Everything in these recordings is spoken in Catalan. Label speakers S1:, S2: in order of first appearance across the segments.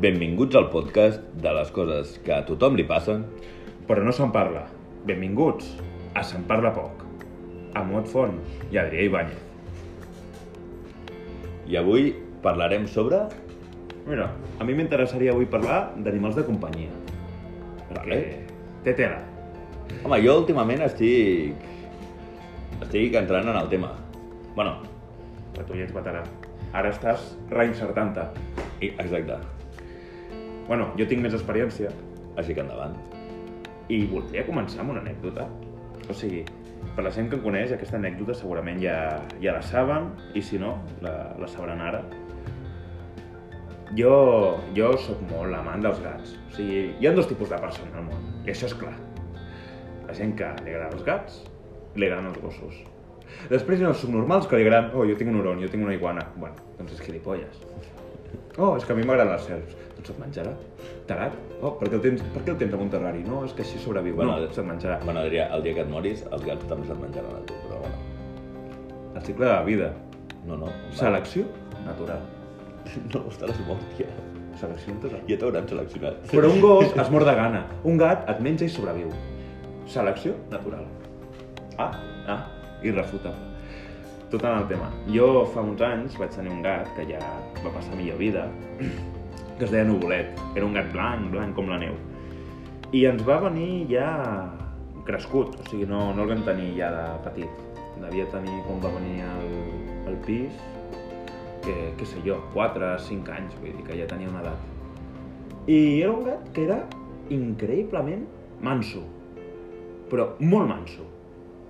S1: Benvinguts al podcast de les coses que a tothom li passen.
S2: Però no se'n parla. Benvinguts a Se'n Parla Poc, amb Mot Font i Adrià Ibáñez.
S1: I avui parlarem sobre...
S2: Mira, a mi m'interessaria avui parlar d'animals de companyia. Perquè té tela.
S1: Home, jo últimament estic... estic entrant en el tema. Bueno,
S2: Que tu ja ets veterà. Ara estàs reinsertant-te.
S1: i- exacte.
S2: Bueno, jo tinc més experiència
S1: Així que endavant.
S2: i voldria començar amb una anècdota. O sigui, per la gent que em coneix, aquesta anècdota segurament ja, ja la saben i si no, la, la sabran ara. Jo, jo sóc molt amant dels gats. O sigui, hi ha dos tipus de persones al món, i això és clar. La gent que li agraden els gats, i li agraden els gossos. Després hi ha els subnormals que li agraden, oh, jo tinc un oron, jo tinc una iguana. Bueno, doncs és gilipolles. Oh, és que a mi m'agraden les serps. Doncs se't menjarà. Tarat. Oh, per què el tens, per què el tens en un terrari? No, és que així sobreviu.
S1: Bueno,
S2: Bueno, no, se't menjarà.
S1: Bueno, Adrià, el dia que et moris, els gats també se't menjaran a tu, però bueno.
S2: El cicle de la vida.
S1: No, no.
S2: Selecció natural.
S1: No, estaràs mort ja.
S2: Selecció natural.
S1: Ja t'hauran seleccionat.
S2: Però un gos es mor de gana. Un gat et menja i sobreviu. Selecció natural. Ah, ah, irrefutable. Tot en el tema. Jo fa uns anys vaig tenir un gat que ja va passar a millor vida, que es deia Nuvolet. Era un gat blanc, blanc com la neu. I ens va venir ja crescut, o sigui, no, no el vam tenir ja de petit. Devia tenir, quan va venir al, al pis, que, què sé jo, 4, 5 anys, vull dir que ja tenia una edat. I era un gat que era increïblement manso, però molt manso.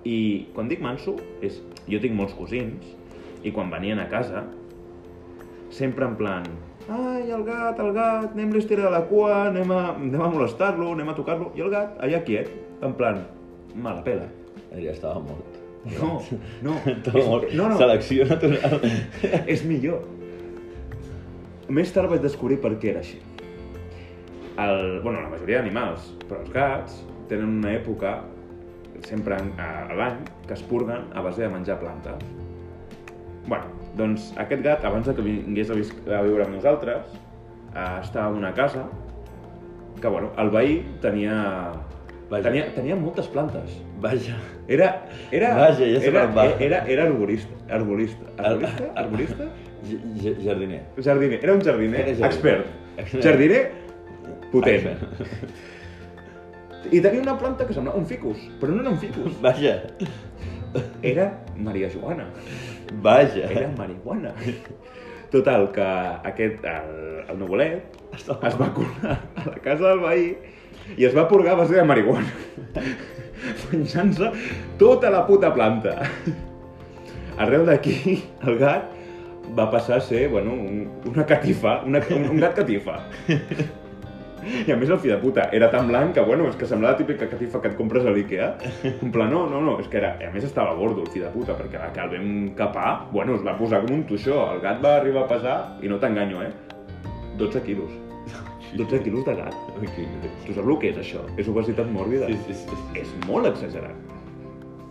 S2: I quan dic manso, és... jo tinc molts cosins, i quan venien a casa, sempre en plan... Ai, el gat, el gat, anem-li a estirar la cua, anem a, anem a molestar-lo, anem a tocar-lo... I el gat, allà quiet, en plan... Me la pela.
S1: Adrià estava mort.
S2: No, no.
S1: Estava mort.
S2: no, no,
S1: Selecció natural.
S2: és millor. Més tard vaig descobrir per què era així. El, bueno, la majoria d'animals, però els gats, tenen una època, sempre en- a a l'any, que es purguen a base de menjar plantes. bueno, doncs aquest gat, abans de que vingués a, vis a viure amb nosaltres, eh, estava en una casa que, bueno, el veí tenia...
S1: Vaja.
S2: Tenia, tenia moltes plantes.
S1: Vaja.
S2: Era, era,
S1: Vaja, ja sé
S2: era,
S1: per on va.
S2: era, era, arborista, arborista, arborista,
S1: Ar-
S2: arborista,
S1: J- j- Jardiner.
S2: Jardiner, era un jardiner,
S1: Era jardiner. Ah,
S2: expert.
S1: Expert.
S2: Jardiner potent.
S1: Vaja.
S2: I tenia una planta que semblava un ficus, però no era un ficus.
S1: Vaja.
S2: Era Maria Joana.
S1: Vaja.
S2: Era marihuana. Total, que aquest, el, el Nuvolet,
S1: Estava-
S2: es va colar a la casa del veí i es va purgar a base de marihuana. Menjant-se tota la puta planta. Arrel d'aquí, el gat va passar a ser, bueno, un- una catifa, una, un, un gat catifa. I a més el fill de puta era tan blanc que, bueno, és que semblava la típica catifa que et compres a l'Ikea. En plan, no, no, no, és que era... I a més estava gordo el fill de puta, perquè la que el vam capar, bueno, es va posar com un toixó. El gat va arribar a pesar, i no t'enganyo, eh, 12 quilos. 12 quilos de gat.
S1: Ok,
S2: Tu saps el que és això? És obesitat mòrbida.
S1: Sí, sí, sí.
S2: És molt exagerat.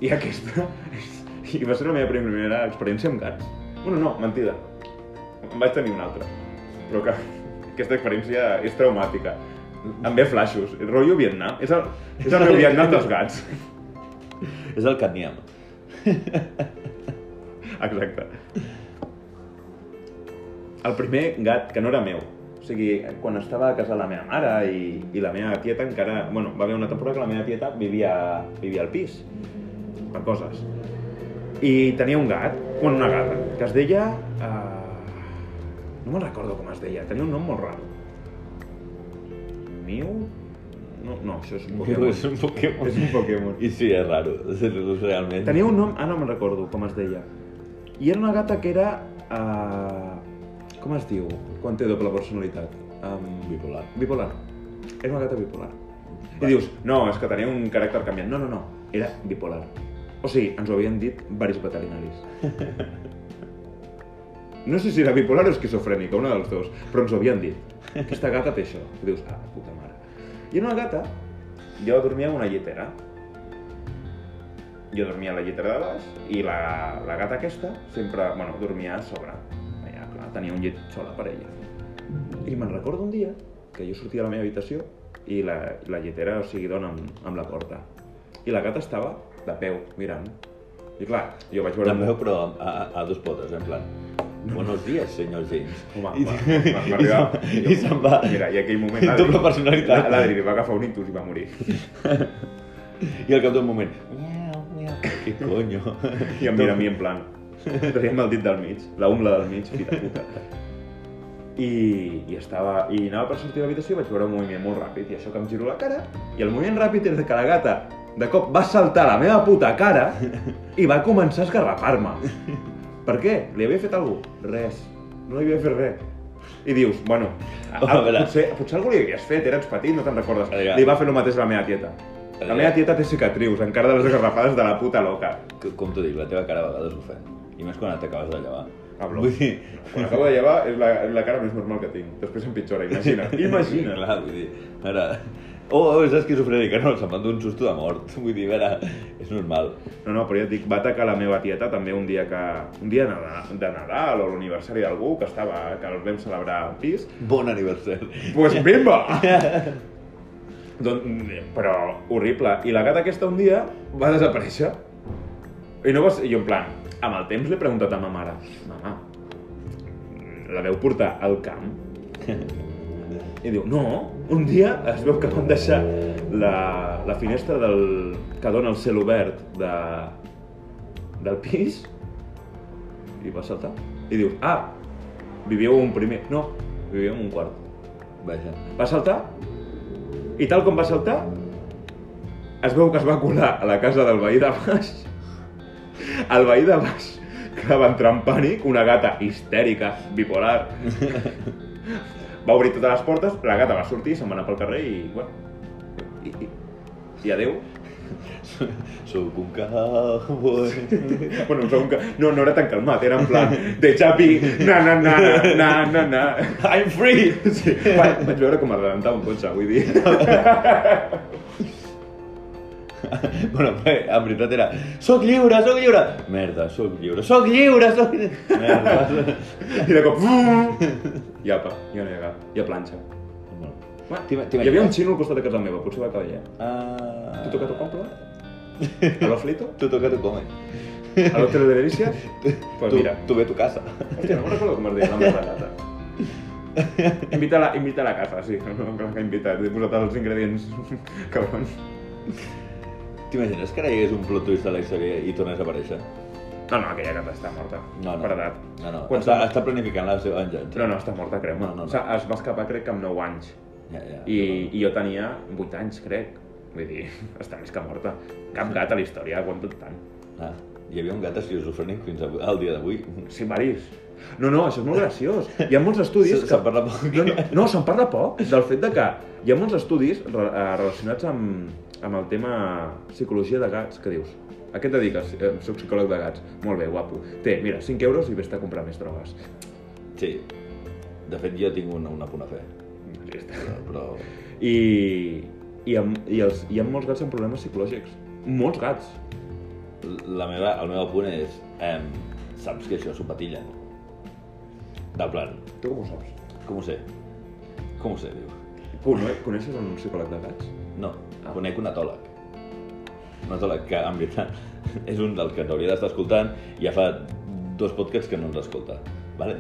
S2: I aquesta... I va ser la meva primera experiència amb gats. Bueno, no, mentida. En vaig tenir una altra. Però que aquesta experiència és traumàtica. Em ve flaixos. Rotllo Vietnam. És el, és el meu Vietnam dels gats.
S1: És el cadmium.
S2: Exacte. El primer gat, que no era meu, o sigui, quan estava a casa de la meva mare i, i la meva tieta encara... Bueno, va haver una temporada que la meva tieta vivia, vivia al pis, per coses. I tenia un gat, bueno, una gata, que es deia... Uh... No me'n recordo com es deia, tenia un nom molt raro. Miu? No, no, això és un Pokémon.
S1: És un Pokémon.
S2: És un Pokémon.
S1: I sí, és raro. Realment.
S2: Tenia un nom, ah, no me'n recordo com es deia. I era una gata que era... Uh, com es diu? Quan té doble personalitat? Um,
S1: Bipolar.
S2: bipolar. Era una gata bipolar. I dius, no, és que tenia un caràcter canviant. No, no, no, era bipolar. O sigui, ens ho havien dit varis veterinaris. No sé si era bipolar o esquizofrènica, una dels dos, però ens ho havien dit. Aquesta gata té això. I dius, ah, puta mare. I era una gata, jo dormia en una lletera, jo dormia a la llitera de baix i la, la gata aquesta sempre, bueno, dormia a sobre. Ja, clar, tenia un llit sola per ella. I me'n recordo un dia que jo sortia de la meva habitació i la, i la lletera, o sigui, dona amb, amb la porta. I la gata estava de peu, mirant. I clar, jo vaig veure...
S1: La veu, però a, a, a dos potes, en plan... Buenos días, senyor James.
S2: Home,
S1: I,
S2: va, va, va arribar.
S1: i, i se'n va.
S2: Mira, i aquell moment...
S1: Doble personalitat.
S2: la- L'Adri li va agafar un intus i va morir.
S1: I al cap d'un moment... Miau, miau. Què conyo?
S2: I em mira a mi en plan... Traiem el dit del mig, la ungla del mig, fita puta. I, i, estava, I anava per sortir de l'habitació i vaig veure un moviment molt ràpid, i això que em giro la cara, i el moviment ràpid és que la gata de cop va saltar a la meva puta cara i va començar a esgarrapar-me. Per què? Li havia fet alguna cosa? Res. No li havia fet res. I dius, bueno, a, a,
S1: A veure.
S2: potser, potser algú li havies fet, eres petit, no te'n recordes.
S1: A veure.
S2: Li va fer el mateix a la meva tieta.
S1: A
S2: La
S1: veure.
S2: meva tieta té cicatrius, encara de les esgarrafades de la puta loca.
S1: Com- Com t'ho dic, la teva cara a vegades ho fa. I més quan t'acabes de llevar.
S2: Hablo.
S1: Vull dir...
S2: Quan acabo de llevar és la, és la cara més normal que tinc. Després empitjora, imagina. Imagina.
S1: Clar, vull dir... Ara... Oh, oh, és esquizofrènica, no, se'm va d'un susto de mort. Vull dir, a veure, és normal.
S2: No, no, però ja et dic, va atacar la meva tieta també un dia que... Un dia de Nadal, de Nadal o l'aniversari d'algú que estava... que el vam celebrar al pis.
S1: Bon aniversari.
S2: Pues bimba! Don... Doncs, mm, Però horrible. I la gata aquesta un dia va desaparèixer. I no vas... I jo en plan, amb el temps l'he preguntat a ma mare. Mama, la veu portar al camp? I diu, no, un dia es veu que van deixar la, la finestra del, que dona el cel obert de, del pis i va saltar. I dius, ah, vivíeu un primer... No, vivíeu en un quart.
S1: Vaja.
S2: Va saltar i tal com va saltar es veu que es va colar a la casa del veí de baix el veí de baix que va entrar en pànic, una gata histèrica, bipolar va obrir totes les portes, la gata va sortir, se'n va anar pel carrer i, bueno, i, i, i adeu.
S1: Sóc un cowboy.
S2: Bueno, som que... No, no era tan calmat, era en plan de xapi, na, na, na, na, na, na.
S1: I'm free!
S2: Sí, va, vaig veure com arrebentar un cotxe, vull dir.
S1: bueno, bé, en veritat era... Soc lliure, soc lliure! Merda, soc lliure, soc lliure, soc... Merda.
S2: I de cop... Fum! I apa, ja no hi ha cap. I a planxa. Hi
S1: T'ima- t'imagines?
S2: havia un xino al costat de casa meva, potser va acabar allà.
S1: Ah...
S2: Tu toca tu compra? A lo flito?
S1: Tu toca tu come.
S2: A lo telederícia? Pues
S1: tu,
S2: mira.
S1: Tu ve tu casa.
S2: Hòstia, no me'n recordo com es deia la meva gata. Invita-la invita a la casa, sí. No, no, que invita. He posat els ingredients, cabrons.
S1: T'imagines que ara hi hagués un plot twist a la història i tornes a aparèixer?
S2: No, no, aquella gata està morta.
S1: No, no.
S2: Per edat.
S1: No, no.
S2: Quan
S1: està,
S2: se'n-
S1: està planificant la seva venjança.
S2: No, no, està morta, creu-me.
S1: No, no, Ah, no.
S2: O sigui, es va escapar, crec que amb 9 anys.
S1: Ja, ja.
S2: I, I jo tenia 8 anys, crec. Vull dir, està més que morta. Cap gat a la història ha aguantat tant.
S1: Ah, hi havia un gat esquizofrènic fins avui- al dia d'avui.
S2: Sí, Marís. No, no, això és molt graciós. Hi ha molts estudis
S1: Se-
S2: que...
S1: se'n parla poc.
S2: No, no, no se'n parla poc del fet de que hi ha molts estudis re eh, relacionats amb, amb el tema psicologia de gats que dius. A què et dediques? Eh, soc psicòleg de gats. Molt bé, guapo. Té, mira, 5 euros i vés-te a comprar més drogues.
S1: Sí. De fet, jo tinc una, una punt a fer.
S2: Ja està.
S1: Però, però...
S2: I, i, amb, i els, hi ha molts gats amb problemes psicològics. Molts gats.
S1: La meva, el meu punt és... Em, saps que això s'ho patillen. Del plan,
S2: Tu com ho saps?
S1: com ho sé? Com ho sé, diu?
S2: Cono eh? coneixes un psicòleg de gats?
S1: No,
S2: Ah.
S1: conec un etòleg. Un etòleg que, en veritat, és un dels que t'hauria d'estar escoltant i ja fa dos podcasts que no ens escolta. Vale?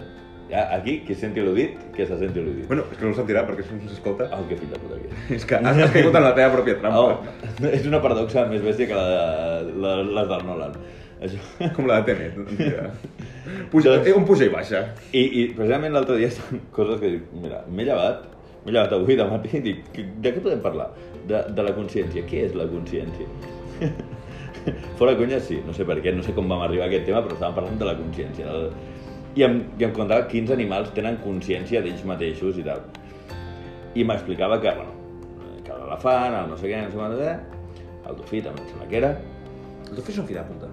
S1: Ja, aquí, qui senti l'udit, que se senti l'udit.
S2: Bueno, és que no ho sentirà perquè si no s'escolta...
S1: Oh, que fill de puta que és.
S2: És que has, has caigut en la teva pròpia
S1: Oh,
S2: trampa.
S1: és una paradoxa més bèstia que la, de, la les del Nolan. Això.
S2: Com la de Tenet. Mira. Puja, eh, un puja i baixa.
S1: I, i precisament l'altre dia estan coses que dic, mira, m'he llevat, m'he llevat avui de matí i dic, "Que- de què podem parlar? De, de la consciència. Què és la consciència? Fora conya, sí, no sé per què, no sé com vam arribar a aquest tema, però estàvem parlant de la consciència. del- I em, i em contava quins animals tenen consciència d'ells mateixos i tal. I m'explicava que, bueno, que l'elefant, el no sé què, no sé quant, eh, el dofí també em sembla que era.
S2: El dofí és un fill de puta.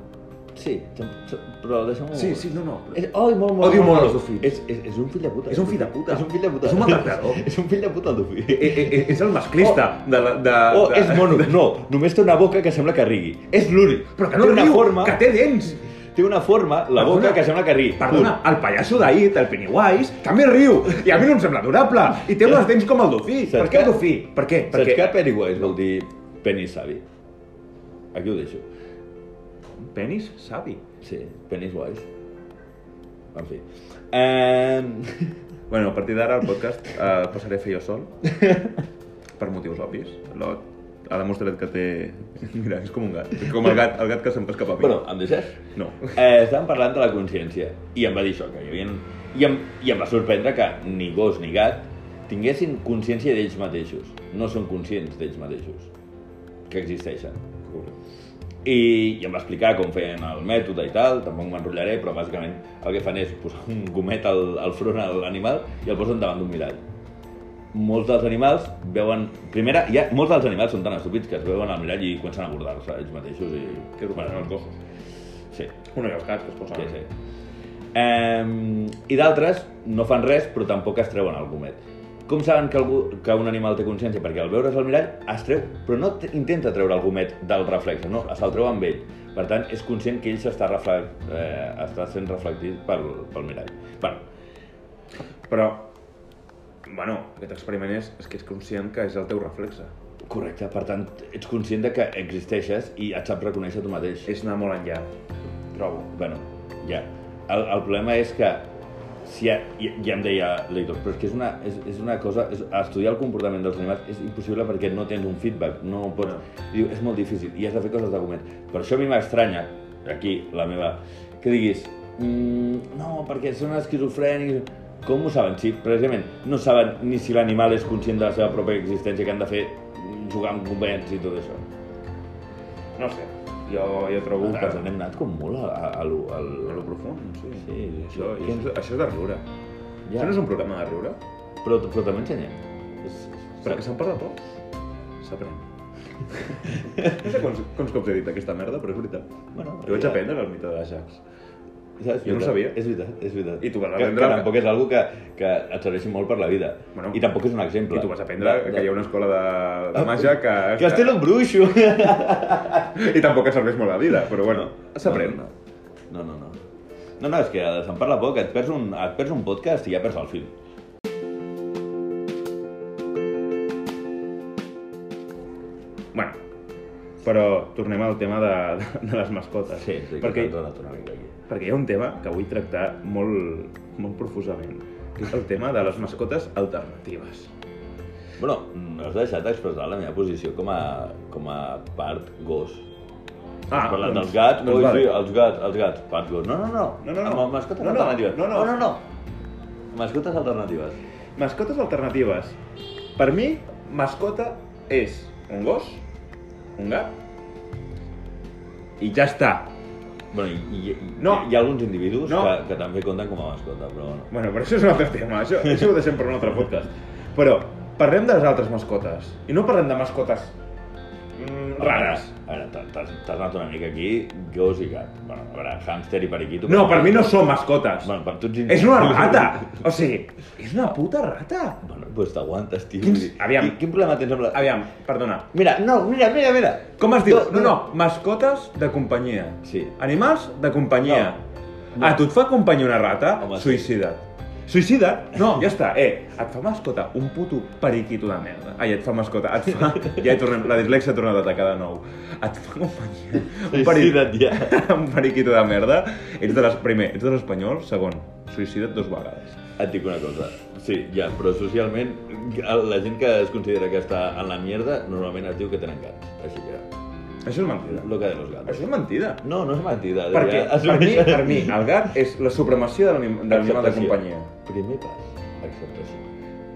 S1: Sí, sem- se- però deixa'm-ho...
S2: Sí, sí, no, no.
S1: És, oh, molt, molt,
S2: Odio molt
S1: molt.
S2: els dofins.
S1: És, és, és un fill de puta.
S2: És un fill de puta.
S1: És un fill de puta.
S2: És un maltractador.
S1: és un fill de puta el dofí.
S2: Eh, eh, eh, és el masclista de la... De,
S1: Oh,
S2: de...
S1: és mono. No, només té una boca que sembla que rigui. És l'únic.
S2: Però que no
S1: té una
S2: riu,
S1: forma...
S2: que té dents.
S1: té una forma, la boca,
S2: Perdona.
S1: que sembla que ri.
S2: Perdona, el pallasso d'ahir, el Pennywise, també riu, i a mi no em sembla adorable, i té les dents com el dofí.
S1: Saps
S2: Per què el
S1: que-
S2: dofí? Per què?
S1: Punt.
S2: Per
S1: Saps
S2: què?
S1: que Pennywise vol dir penis savi? Aquí ho deixo.
S2: Penis savi.
S1: Sí, Pennywise. En fi. Eh...
S2: Bueno, a partir d'ara el podcast eh, passaré a fer jo sol, per motius obvis. Lot ha demostrat que té... Mira, és com un gat. Com el gat, el gat que sempre escapa a mi.
S1: Bueno, em deixes?
S2: No.
S1: Eh, estàvem parlant de la consciència i em va dir això, que hi havia... I em, I em va sorprendre que ni gos ni gat tinguessin consciència d'ells mateixos. No són conscients d'ells mateixos, que existeixen. I, I em va explicar com feien el mètode i tal, tampoc m'enrotllaré, però bàsicament el que fan és posar un gomet al, al front a l'animal i el posen davant d'un mirall. Molts dels animals veuen... Primera, ja, molts dels animals són tan estúpids que es veuen al mirall i comencen a abordar-se ells mateixos i...
S2: Que és els gossos.
S1: Sí.
S2: Bueno, i els gats que es posen...
S1: Sí, sí. Um, I d'altres no fan res, però tampoc es treuen el gomet. Com saben que, algú, que un animal té consciència? Perquè al veure's al mirall es treu, però no t- intenta treure el gomet del reflexe, no, se'l treu amb ell. Per tant, és conscient que ell s'està refle- eh, està sent reflectit pel, pel mirall. Bueno,
S2: Però, bueno, aquest experiment és, és que és conscient que és el teu reflexe.
S1: correcte, per tant, ets conscient de que existeixes i et saps reconèixer tu mateix.
S2: És anar molt enllà.
S1: trobo. Bueno, ja. El, el problema és que si ha, ja, ja em deia l'Eitor, però és que és una, és, és una cosa, és, estudiar el comportament dels animals és impossible perquè no tens un feedback, no pots... No. Diu, és molt difícil i has de fer coses de gomet. Per això a mi m'estranya, aquí, la meva, que diguis, mm, no, perquè són esquizofrènics... Com ho saben? Sí, precisament, no saben ni si l'animal és conscient de la seva pròpia existència, que han de fer mm, jugar amb gomets i tot això.
S2: No sé, jo, jo trobo
S1: Ens
S2: que...
S1: n'hem anat com molt a, a, a, lo- al-
S2: A lo profund, sí.
S1: Sí, sí.
S2: Això, això, és- això és de riure.
S1: Ja.
S2: Això no és un programa de riure?
S1: Però, però també ensenyem. És,
S2: Perquè se'n parla tot. S'aprèn. no sé quants, quants cops he dit aquesta merda, però és veritat.
S1: Bueno,
S2: Jo vaig
S1: ja.
S2: aprendre el mite de l'Ajax.
S1: Saps?
S2: Jo no
S1: Veritat.
S2: ho sabia.
S1: És veritat, és veritat.
S2: I tu vas
S1: que,
S2: aprendre
S1: que
S2: que-
S1: tampoc és algo que, que et serveixi molt per la vida.
S2: Bueno.
S1: I tampoc és un exemple.
S2: I tu vas aprendre que hi ha una escola de, de màgia que...
S1: Ah, Que es té un bruixo!
S2: I tampoc et serveix molt la vida, però bueno, s'aprèn.
S1: No, no, no. no. No, no, és que se'n parla poc, et perds, un, et perds un podcast i ja perds el fil.
S2: Bueno, però tornem al tema de, de, de les mascotes.
S1: Sí, sí,
S2: perquè,
S1: que t'han donat una mica aquí.
S2: perquè hi ha un tema que vull tractar molt, molt profusament, que és el tema de les mascotes alternatives.
S1: Bueno, no has deixat expressar la meva posició com a, com a part gos. Ah, parlat doncs, dels gats, doncs, vale. sí, els gats, els gats, part gos. No, no, no,
S2: No, no, no.
S1: Amb mascotes
S2: No, no.
S1: alternatives.
S2: No, no.
S1: no, no, no. Mascotes alternatives.
S2: Mascotes alternatives. Per mi, mascota és un gos, un gat, i ja està.
S1: Bueno, i, i, i-
S2: No.
S1: hi ha alguns individus
S2: No.
S1: que, que també compten com a mascota, però bueno.
S2: Bueno, però això és un altre tema, això, això ho deixem per un altre podcast. Però parlem de les altres mascotes, i no parlem de mascotes mm, rares.
S1: A veure, t'has- t'has t'has anat una mica aquí, gos i gat. Bueno, a veure, hàmster i periquito...
S2: No, per mi no són mascotes.
S1: Bueno, per tu ets
S2: És una rata! O sigui, és una puta rata!
S1: Bueno, doncs pues t'aguantes, tio.
S2: Quins-
S1: Vull dir,
S2: aviam.
S1: Quin, quin problema tens amb la...
S2: Aviam, perdona.
S1: Mira, no, mira, mira, mira.
S2: Com es diu?
S1: Do-
S2: No, no, mascotes de companyia.
S1: Sí.
S2: Animals de companyia.
S1: No.
S2: No.
S1: No.
S2: Ah, tu et fa companyia una rata?
S1: Home, sí.
S2: Suïcida't. Suïcida't? No, ja està. Eh, et fa mascota un puto periquito de merda. Ai, et fa mascota, et fa... Ja hi tornem, la dislexia ha tornat a atacar de nou. Et fa companyia.
S1: Suïcida't ja.
S2: un periquito de merda. Ets de les... Primer, ets de l'espanyol. Segon, suïcida't dos vegades.
S1: Et dic una cosa, sí, ja, però socialment la gent que es considera que està en la mierda normalment es diu que tenen gats, així que
S2: Això és mentida.
S1: lo que de los gatos.
S2: Això és mentida.
S1: No, no és mentida.
S2: Perquè
S1: ja,
S2: Ah, per mi,
S1: assumeixen-
S2: per mi, el gat és la supremacia de l'anim- de l'animal de
S1: Acceptació.
S2: companyia.
S1: Primer pas, acceptació.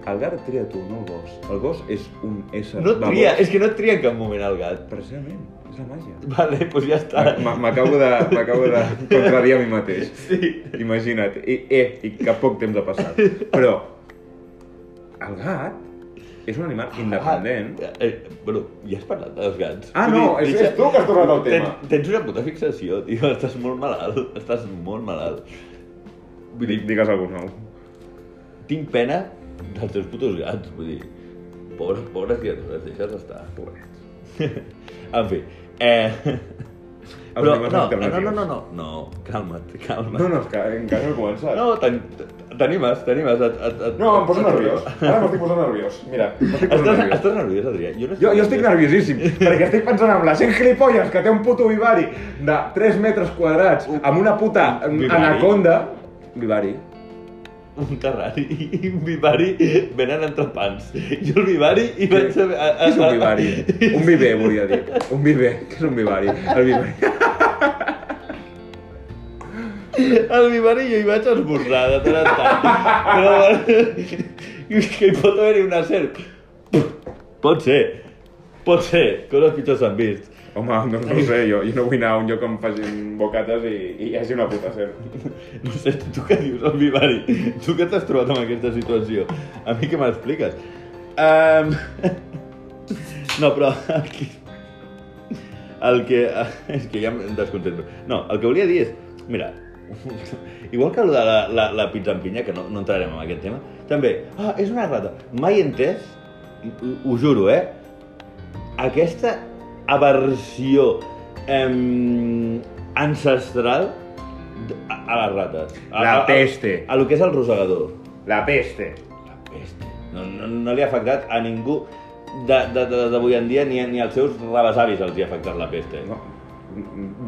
S2: El gat tria tu, no el gos. El gos és un ésser
S1: No et
S2: babós.
S1: tria, és que no et tria en cap moment el gat.
S2: Precisament, és la màgia.
S1: Vale, doncs pues ja està.
S2: M- m- M'acabo de, m'acabo de contradir a mi mateix.
S1: Sí.
S2: Imagina't. I, eh, i que poc temps ha passat. Però el gat és un animal independent.
S1: Ah, eh, eh, bueno, ja has parlat dels gats.
S2: Ah,
S1: Vull
S2: no, és- és tu que has tornat al tema.
S1: Tens, tens una puta fixació, tio, estàs molt malalt, estàs molt malalt. Vull dir,
S2: Di- Digues algun nou.
S1: tinc pena dels teus putos gats, vull dir, pobres, pobres criatures, deixa'ls estar.
S2: Pobrets.
S1: en fi, eh, Però,
S2: animals
S1: no, no,
S2: alternatius.
S1: no, no, no, no, calma't, calma't.
S2: No, no, és que encara no he començat.
S1: No, t'an- t'animes, t'animes. Et, et, et,
S2: No, em poso nerviós. Ara m'estic posant nerviós. Mira, m'estic posant
S1: Estàs,
S2: nerviós.
S1: estàs nerviós, Adrià? no
S2: Jo, jo estic nerviosíssim, perquè estic pensant en la gent gilipolles que té un puto vivari de 3 metres quadrats amb una puta
S1: Vivari?
S2: anaconda. Vivari.
S1: Un terrari i un vivari venen entrepans. Jo el vivari i vaig a... a, a
S2: Què és un vivari? Un viver, volia dir. Un viver. Què és un vivari? El vivari.
S1: Al vivari jo hi vaig a esmorzar de tant en tant. Però bueno, que hi pot haver-hi una serp. Pot ser. Pot ser. Coses pitjors s'han vist.
S2: Home, no, no ho sé, jo, jo no vull anar a un lloc on facin bocates i, i hi hagi una puta serp.
S1: No sé, tu què dius, al vivari? Tu què t'has trobat amb aquesta situació? A mi què m'expliques? Um... No, però aquí... El que... És que ja em desconcentro. No, el que volia dir és... Mira, igual que el de la, la, la pizza amb pinya, que no, no entrarem en aquest tema, també, ah, és una rata. Mai he entès, ho, ho juro, eh? Aquesta aversió em, ancestral d- a, a les rates. A,
S2: La
S1: a- a-
S2: peste.
S1: A, lo que és el rosegador.
S2: La peste.
S1: La peste. No, no, no li ha afectat a ningú de- de- de- d'avui en dia, ni, a- ni als seus rebesavis els hi ha afectat la peste.
S2: No,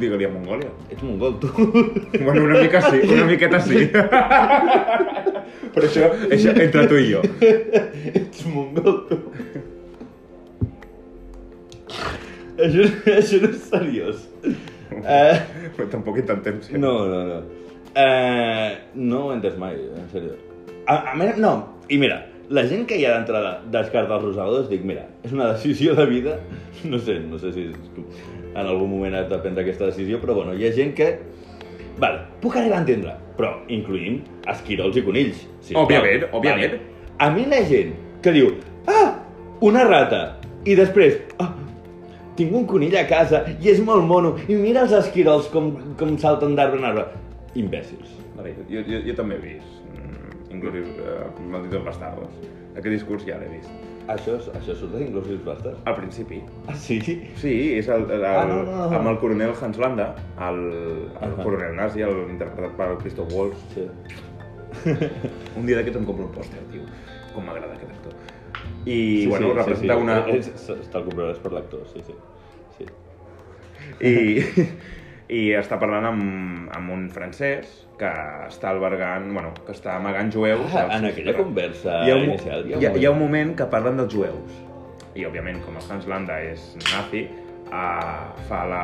S2: digue-li a Mongòlia.
S1: Ets mongol, tu.
S2: Bueno, una mica sí, una miqueta sí. Però això, això entre tu i jo.
S1: Ets mongol, tu. Això, això no és seriós. Eh,
S2: Però tampoc intentem ser.
S1: no, no, no. Eh, no ho he entès mai, eh, en sèrio. A, a més, no, i mira, la gent que hi ha d'entrada descarta els rosadors, dic, mira, és una decisió de vida, no sé, no sé si és com- en algun moment has de prendre aquesta decisió, però bueno, hi ha gent que... Vale, puc arribar a entendre, però incloïm esquirols i conills. sisplau.
S2: Òbviament, òbviament.
S1: Vale. A mi la gent que diu, ah, una rata, i després, ah, tinc un conill a casa i és molt mono, i mira els esquirols com, com salten d'arbre en arbre. Imbècils.
S2: A veure, jo, jo, jo també he vist, mm, inclús eh, Malditos Bastardos. Aquest discurs ja l'he vist.
S1: Això, és, això surt de Inclusive Blaster?
S2: Al principi.
S1: Ah, sí?
S2: Sí, és el, el,
S1: Ah, no, no, no.
S2: amb el coronel Hans Landa, el, el
S1: Ajà.
S2: coronel nazi, el interpretat per Christoph Waltz.
S1: Sí.
S2: Un dia d'aquests em compro un pòster, tio. Com m'agrada aquest actor. I,
S1: sí, Eh,
S2: bueno, representa una...
S1: És, és, te'l compraràs per l'actor, sí, sí. sí.
S2: I, i està parlant amb, amb un francès que està albergant, bueno, que està amagant jueus.
S1: Ah,
S2: als-
S1: en aquella conversa
S2: hi ha un, mo-
S1: inicial
S2: hi, ha, hi ha un moment que parlen dels jueus. I, òbviament, com el Hans Landa és nazi, uh, fa la,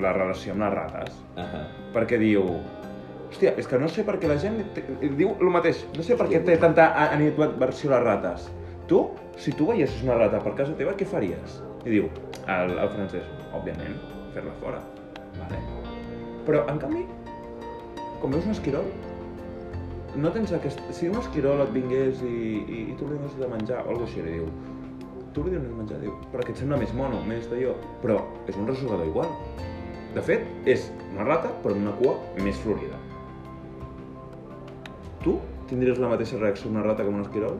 S2: la relació amb les rates.
S1: Ahà.
S2: Perquè diu... Hòstia, és que no sé per què la gent té- diu el mateix. No sé per què té tanta a- animadversió a les rates. Tu, si tu veiessis una rata per casa teva, què faries? I diu el, el francès, òbviament, fer-la fora. Vale. Però, en canvi, com veus un esquirol, no tens aquest... Si un esquirol et vingués i, i, i tu li dones de menjar o alguna així, li diu, tu li dones de menjar, diu, perquè et sembla més mono, més d'allò, però és un resogador igual. De fet, és una rata, però amb una cua més florida. Tu tindries la mateixa reacció a una rata com un esquirol?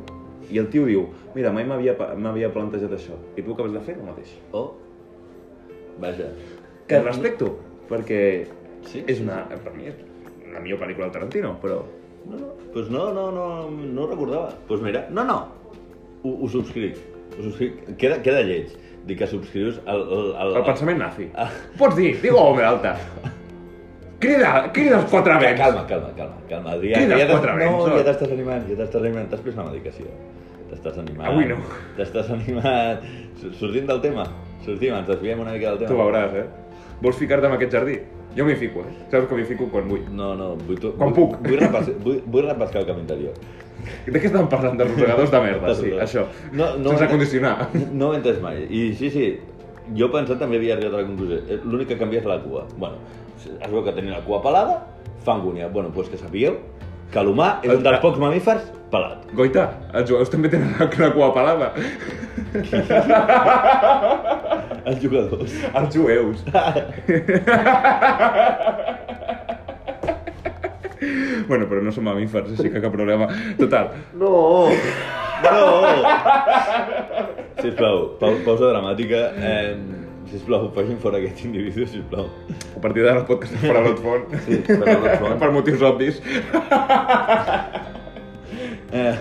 S2: I el tio diu, mira, mai m'havia pa- m'havia plantejat això. I tu acabes de fer el mateix.
S1: Oh. Vaja.
S2: Que et respecto, perquè
S1: Sí,
S2: és una, per mi, és la millor pel·lícula de Tarantino, però...
S1: No, no. Pues no, no, no, no ho recordava. Pues mira, no, no, ho, ho subscric. Ho subscric. Queda, queda lleig dir que subscrius el... El, el,
S2: El pensament nazi.
S1: Ah.
S2: Pots dir, digue o bé alta. Crida, crida els quatre
S1: Calma,
S2: vents.
S1: Ah, calma, calma, calma, calma, Adrià.
S2: Crida
S1: que
S2: els
S1: t'has-
S2: quatre vents,
S1: No,
S2: no?
S1: ja t'estàs animant, ja t'estàs animant. T'has pres la medicació. T'estàs animant.
S2: Avui no.
S1: T'estàs animant. Sor- Sortim del tema. Sortim, ens desviem una mica del
S2: Tu
S1: tema.
S2: veuràs, eh? Vols ficar-te en aquest jardí? Jo m'hi fico, eh? Saps que m'hi fico quan vull.
S1: No, no, vull... tu-
S2: Quan
S1: vull-
S2: puc.
S1: Vull, repescar, vull, vull repescar el camp interior.
S2: De què estan parlant? De rosegadors de merda, sí,
S1: Perdó.
S2: això.
S1: No, no,
S2: Sense
S1: no.
S2: condicionar.
S1: No ho he entès mai. I sí, sí, jo pensant també havia arribat a la conclusió. Eh, L'únic que canvia és la cua. Bueno, es veu que tenia la cua pelada, fa angúnia. Bueno, doncs que sapigueu que l'humà és un dels pocs mamífers pelat.
S2: Goita, els jugadors també tenen la, la cua pelada.
S1: Els jugadors.
S2: Els jueus. bueno, però no som mamífers, així que cap problema. Total,
S1: No! No! Sisplau, pau, pausa dramàtica. Eh, Sisplau, facin fora aquest individu, sisplau.
S2: A partir d'ara el podcast farà l'Ot Font.
S1: Sí, farà l'Ot Font.
S2: per motius obvis.
S1: Eh,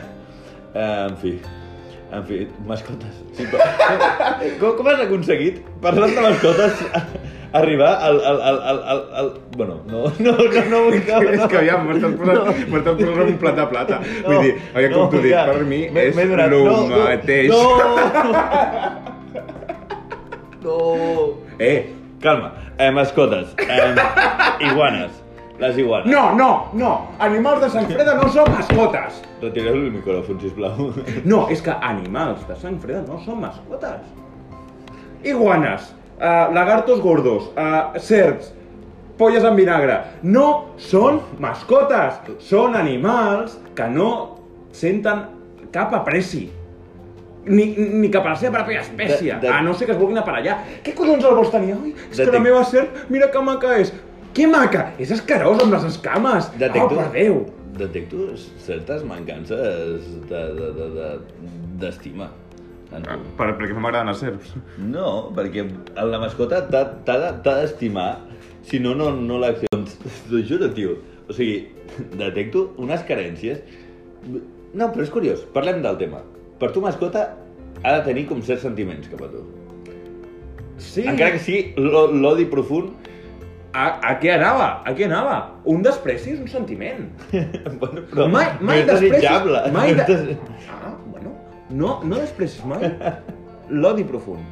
S1: eh, en fi, en fi, mascotes. Sí, però- com, com has aconseguit, parlant de mascotes, arribar al... al, al, al, al, al... Bueno, no, no, no, no vull que...
S2: és
S1: No.
S2: que aviam, m'estàs posant, m'estàs posant un plat de plata.
S1: No,
S2: Vull dir, aviam com t'ho dic,
S1: ja.
S2: per mi
S1: M'he-
S2: és
S1: m'he donat-
S2: el mateix.
S1: No! No! no.
S2: Eh,
S1: Calma, eh, mascotes, eh, iguanes, les iguanes.
S2: no, no, no, animals de sang freda no són mascotes.
S1: Retireu el micròfon, sisplau.
S2: No, és que animals de sang freda no són mascotes. Iguanes, eh, lagartos gordos, eh, serps, polles en vinagre, no són mascotes. Són animals que no senten cap apreci. Ni, ni cap a la seva pròpia espècie,
S1: De- de-
S2: a no ser que es vulguin aparellar. Què collons el vols tenir? Ai, és que
S1: Detec-
S2: la meva serp, mira que maca és. Que maca! És escarós amb les escames!
S1: Detecto-
S2: Oh, per Déu!
S1: Detecto certes mancances de- de- de- de- d'estima. De, en tu.
S2: Per, perquè no m'agraden els serps.
S1: No, perquè la mascota t'ha- t'ha de- t'ha d'estimar, si no, no, no l'acceptes. T'ho juro, tio. O sigui, detecto unes carències. No, però és curiós, parlem del tema. Per tu, mascota ha de tenir com certs sentiments cap a tu.
S2: Sí.
S1: Encara que sigui l'o- l'odi profund,
S2: A, a què anava? A què anava? Un despreci és un sentiment.
S1: bueno, però
S2: mai,
S1: no
S2: mai
S1: és
S2: desprecis...
S1: desitjable.
S2: Mai
S1: No és
S2: de...
S1: des-
S2: Ah, bueno. No, no desprecis mai l'odi profund.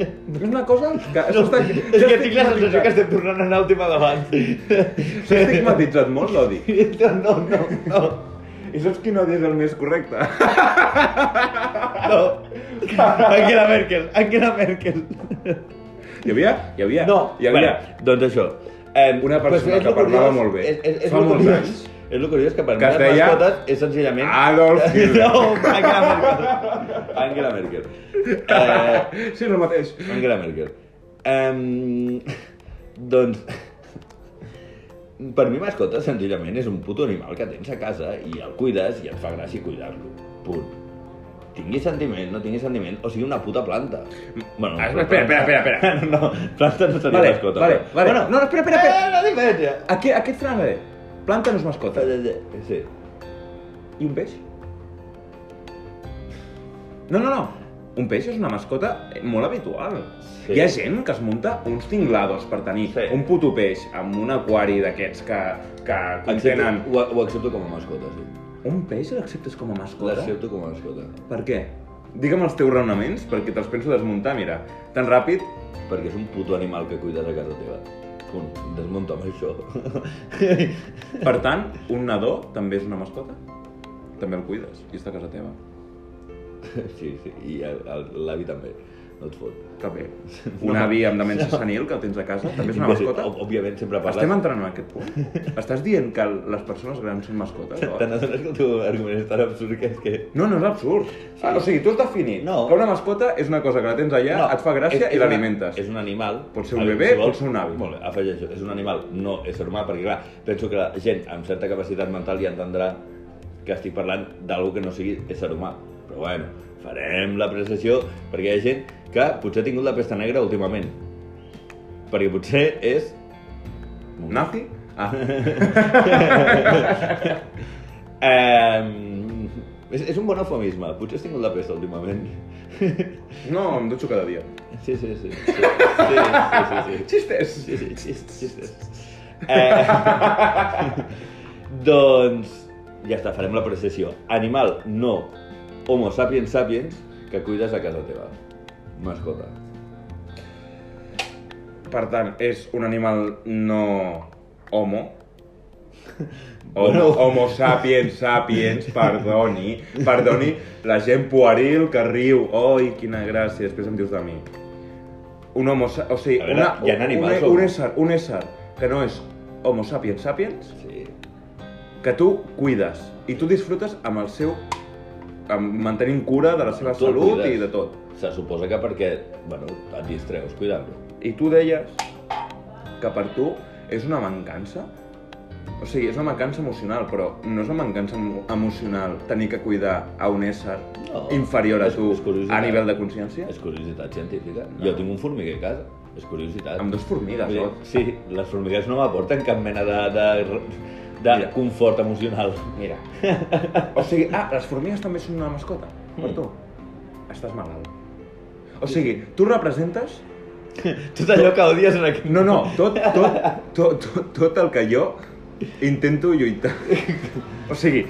S2: És una cosa que...
S1: No,
S2: això està-
S1: és
S2: això
S1: que tinc la sensació que
S2: estigmatitzat.
S1: estem tornant a anar al tema d'abans.
S2: S'ha estigmatitzat molt l'odi.
S1: No, no, no, no.
S2: I saps quin odi és el més correcte?
S1: no. Angela Merkel, Angela Merkel.
S2: Hi havia? Hi havia?
S1: No,
S2: Hi havia.
S1: bueno, doncs això. Eh,
S2: Una
S1: però és
S2: persona
S1: és
S2: que
S1: lo
S2: parlava
S1: curiós,
S2: molt bé.
S1: És, és, és
S2: Fa
S1: lo
S2: molts
S1: curiós-
S2: anys.
S1: És el curiós que per
S2: Que
S1: mi
S2: es
S1: les
S2: deia
S1: mascotes és senzillament...
S2: Adolf Hitler.
S1: No, Angela Merkel. Angela Merkel. Eh,
S2: Sí, el mateix.
S1: Angela Merkel. Um, doncs... Per mi, mascota, senzillament, és un puto animal que tens a casa i el cuides i et fa gràcia cuidar-lo. Punt. Tingui sentiment, no tingui sentiment, o sigui una puta planta. Bueno,
S2: Ah, espera, espera, espera, espera.
S1: No, planta no seria
S2: Vale,
S1: mascota.
S2: vale,
S1: però-
S2: vale.
S1: Bueno,
S2: No, no, espera, espera, espera.
S1: Eh, la diferència.
S2: Aquí, aquí et frenaré. Planta no és mascota.
S1: Sí.
S2: I un peix? No, no, no. Un peix és una mascota molt habitual.
S1: Sí.
S2: Sí. Hi ha gent que es munta uns tinglados per tenir
S1: Sí.
S2: sí. un puto peix amb un aquari d'aquests que, que
S1: Accepto,
S2: contenen...
S1: ho, ho accepto com a mascota, sí.
S2: Un peix l'acceptes com a mascota?
S1: L'accepto com a mascota.
S2: Per què? Digue'm els teus raonaments, perquè te'ls penso desmuntar, mira. Tan ràpid...
S1: Perquè és un puto animal que cuides a casa teva. Punt. Desmunta'm això.
S2: Per tant, un nadó també és una mascota? També el cuides, i està a casa teva.
S1: sí, sí. I el- el- l'avi també. No et fot.
S2: Que bé. Un avi amb demència senil que el tens a casa també és una mascota?
S1: Ob- Òbviament sempre parles...
S2: Estem entrant en aquest punt? Estàs dient que les persones grans són mascotes? o?
S1: Te n'adones que el teu argument és tan absurd que és que...
S2: No, no és absurd. Ah, o sigui, tu has definit
S1: No.
S2: que una mascota és una cosa que la tens allà, et fa gràcia
S1: és-
S2: i
S1: és
S2: l'alimentes.
S1: una- És un animal.
S2: Pot ser un
S1: A veure,
S2: bebè,
S1: vols-
S2: pot ser un avi.
S1: Molt bé, afegeixo. És un animal, no és humà, perquè clar, penso que la gent amb certa capacitat mental ja entendrà que estic parlant d'algú que no sigui ésser humà. Però bueno, farem la precisió perquè hi ha gent que potser ha tingut la pesta negra últimament. Perquè potser és...
S2: Nazi? Ah,
S1: Eh, és, és un bon eufemisme. Potser has tingut la pesta últimament.
S2: no, em dutxo cada dia.
S1: Sí, sí, sí. Sí, sí, sí. sí, sí.
S2: Xistes!
S1: Sí, sí, xistes, xistes. Eh, doncs, ja està, farem la processió. Animal, no. Homo sapiens sapiens, que cuides a casa teva. Mascota.
S2: Per tant, és un animal no homo, Homo,
S1: Bueno.
S2: homo sapiens sapiens, perdoni, perdoni la gent pueril que riu, oi, quina gràcia, després em dius de mi. Un homo, sa- o sigui,
S1: A veure,
S2: una,
S1: hi ha animals
S2: un,
S1: homo.
S2: un, ésser, un ésser que no és homo sapiens sapiens,
S1: Sí.
S2: que tu cuides i tu disfrutes amb el seu amb mantenint cura de la seva
S1: Tu el
S2: salut
S1: cuides.
S2: i de tot.
S1: Se suposa que perquè, bueno, et distreus cuidant-lo.
S2: I tu deies que per tu és una mancança? O sigui, és una mancança emocional, però no és una mancança emo- emocional tenir que cuidar a un ésser
S1: No.
S2: inferior a
S1: És-
S2: tu
S1: és curiositat.
S2: a nivell de consciència?
S1: És curiositat científica. Jo tinc un formiguer a casa. És curiositat.
S2: Ah. Amb dos formigues,
S1: Vull dir,
S2: no?
S1: Sí, les formigues no m'aporten cap mena de, de, de
S2: Mira.
S1: confort emocional.
S2: Mira. O sigui, ah, les formigues també són una mascota, per
S1: Mm.
S2: tu. Estàs malalt. O sigui, tu representes...
S1: Tot allò que odies en aquest...
S2: No, no, tot, tot, tot, tot, tot el que jo intento lluitar. O sigui,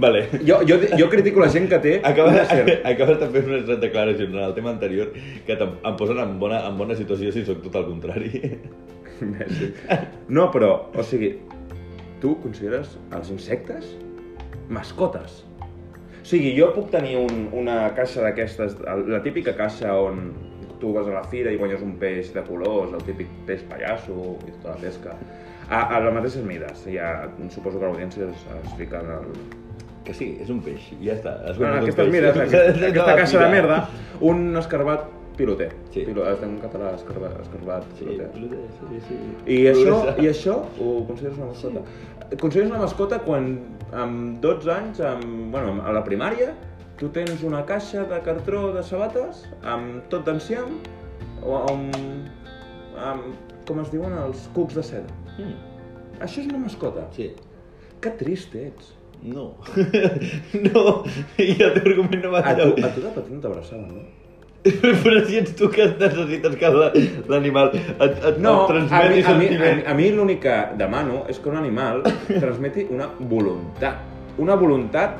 S1: Vale.
S2: jo, jo, jo critico la gent que té
S1: Acabes,
S2: una serp.
S1: acabes de fer unes declaracions en el tema anterior que em, em posen en bona, en bona situació si sóc tot el contrari.
S2: Merci. No, però, o sigui, tu consideres els insectes mascotes? O sigui, jo puc tenir un, una caixa d'aquestes, el- la típica caixa on tu vas a la fira i guanyes un peix de colors, el típic peix pallasso i tota la pesca, a, a les mateixes mides. Ja, suposo que l'audiència es, es fica en el...
S1: Que sí, és un peix, ja està. Has
S2: En
S1: guanyat un
S2: aquestes
S1: peix.
S2: mides, aquesta, aquesta
S1: Acaba
S2: caixa de
S1: mira.
S2: merda, un escarbat piloter.
S1: Sí.
S2: Pilo, es diu en català escarbat, escarbat
S1: Sí,
S2: piloter.
S1: sí, sí.
S2: I això, I això ho consideres una mascota? Et Consideres una mascota quan amb 12 anys, amb, bueno, a la primària, tu tens una caixa de cartró de sabates amb tot d'enciam o amb, amb, com es diuen, els cucs de seda.
S1: Mm,
S2: Això és una mascota.
S1: sí.
S2: Que trist ets.
S1: No. no. I el teu argument no va
S2: A tu,
S1: enlloc.
S2: a tu de petit no t'abraçaven, no?
S1: Però si ets tu que necessites que la- l'animal et, et,
S2: No,
S1: et
S2: a mi,
S1: transmeti
S2: a mi,
S1: sentiment.
S2: a, a mi l'únic que demano és que un animal transmeti una voluntat. Una voluntat...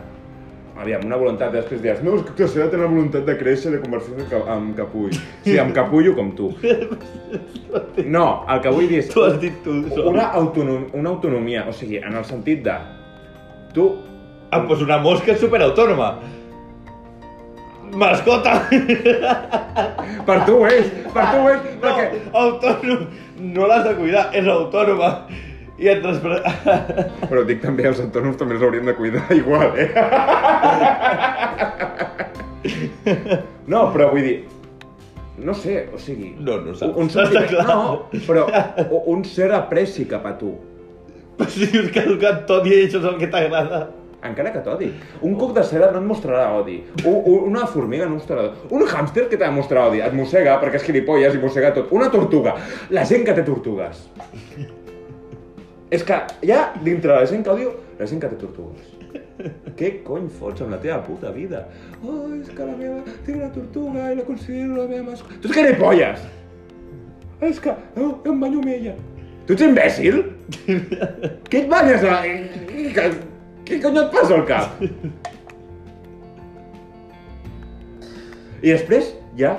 S2: Aviam, una voluntat, després diràs, no, és que la seva té una voluntat de créixer, de convertir-se en ca- en capull. Sí, en capullo com tu. No, el que vull dir és
S1: Tu has dit tu sol.
S2: una, autonom, una autonomia, o sigui, en el sentit de... Tu...
S1: Ah, doncs una mosca superautònoma. Mascota!
S2: Per tu ho és, per tu ho és,
S1: No,
S2: perquè...
S1: autònom. No l'has de cuidar, és autònoma. I et transmet...
S2: Però dic també, els autònoms també els hauríem de cuidar igual, eh? No, però vull dir... No sé, o sigui...
S1: No, no saps,
S2: Un
S1: està
S2: sentiment,
S1: clar.
S2: no, però u- un cert apreci cap a tu.
S1: Però pues si us caducat tot i això és el que t'agrada.
S2: Encara que t'odi. Un cuc de cera no et mostrarà odi. U, u, una formiga no mostrarà odi. Un hàmster que t'ha de mostrar odi. Et mossega perquè és gilipolles i mossega tot. Una tortuga. La gent que té tortugues. És que hi ha dintre la gent que odio, la gent que té tortugues. Què cony fots amb la teva puta vida? Oh, és que la meva... Tinc una tortuga i la considero la meva mascota. Tu ets gilipolles! És que oh, em banyo amb ella. Tu ets imbècil? Què et banyes? A... Què, què cony et passa al cap? I després hi ha,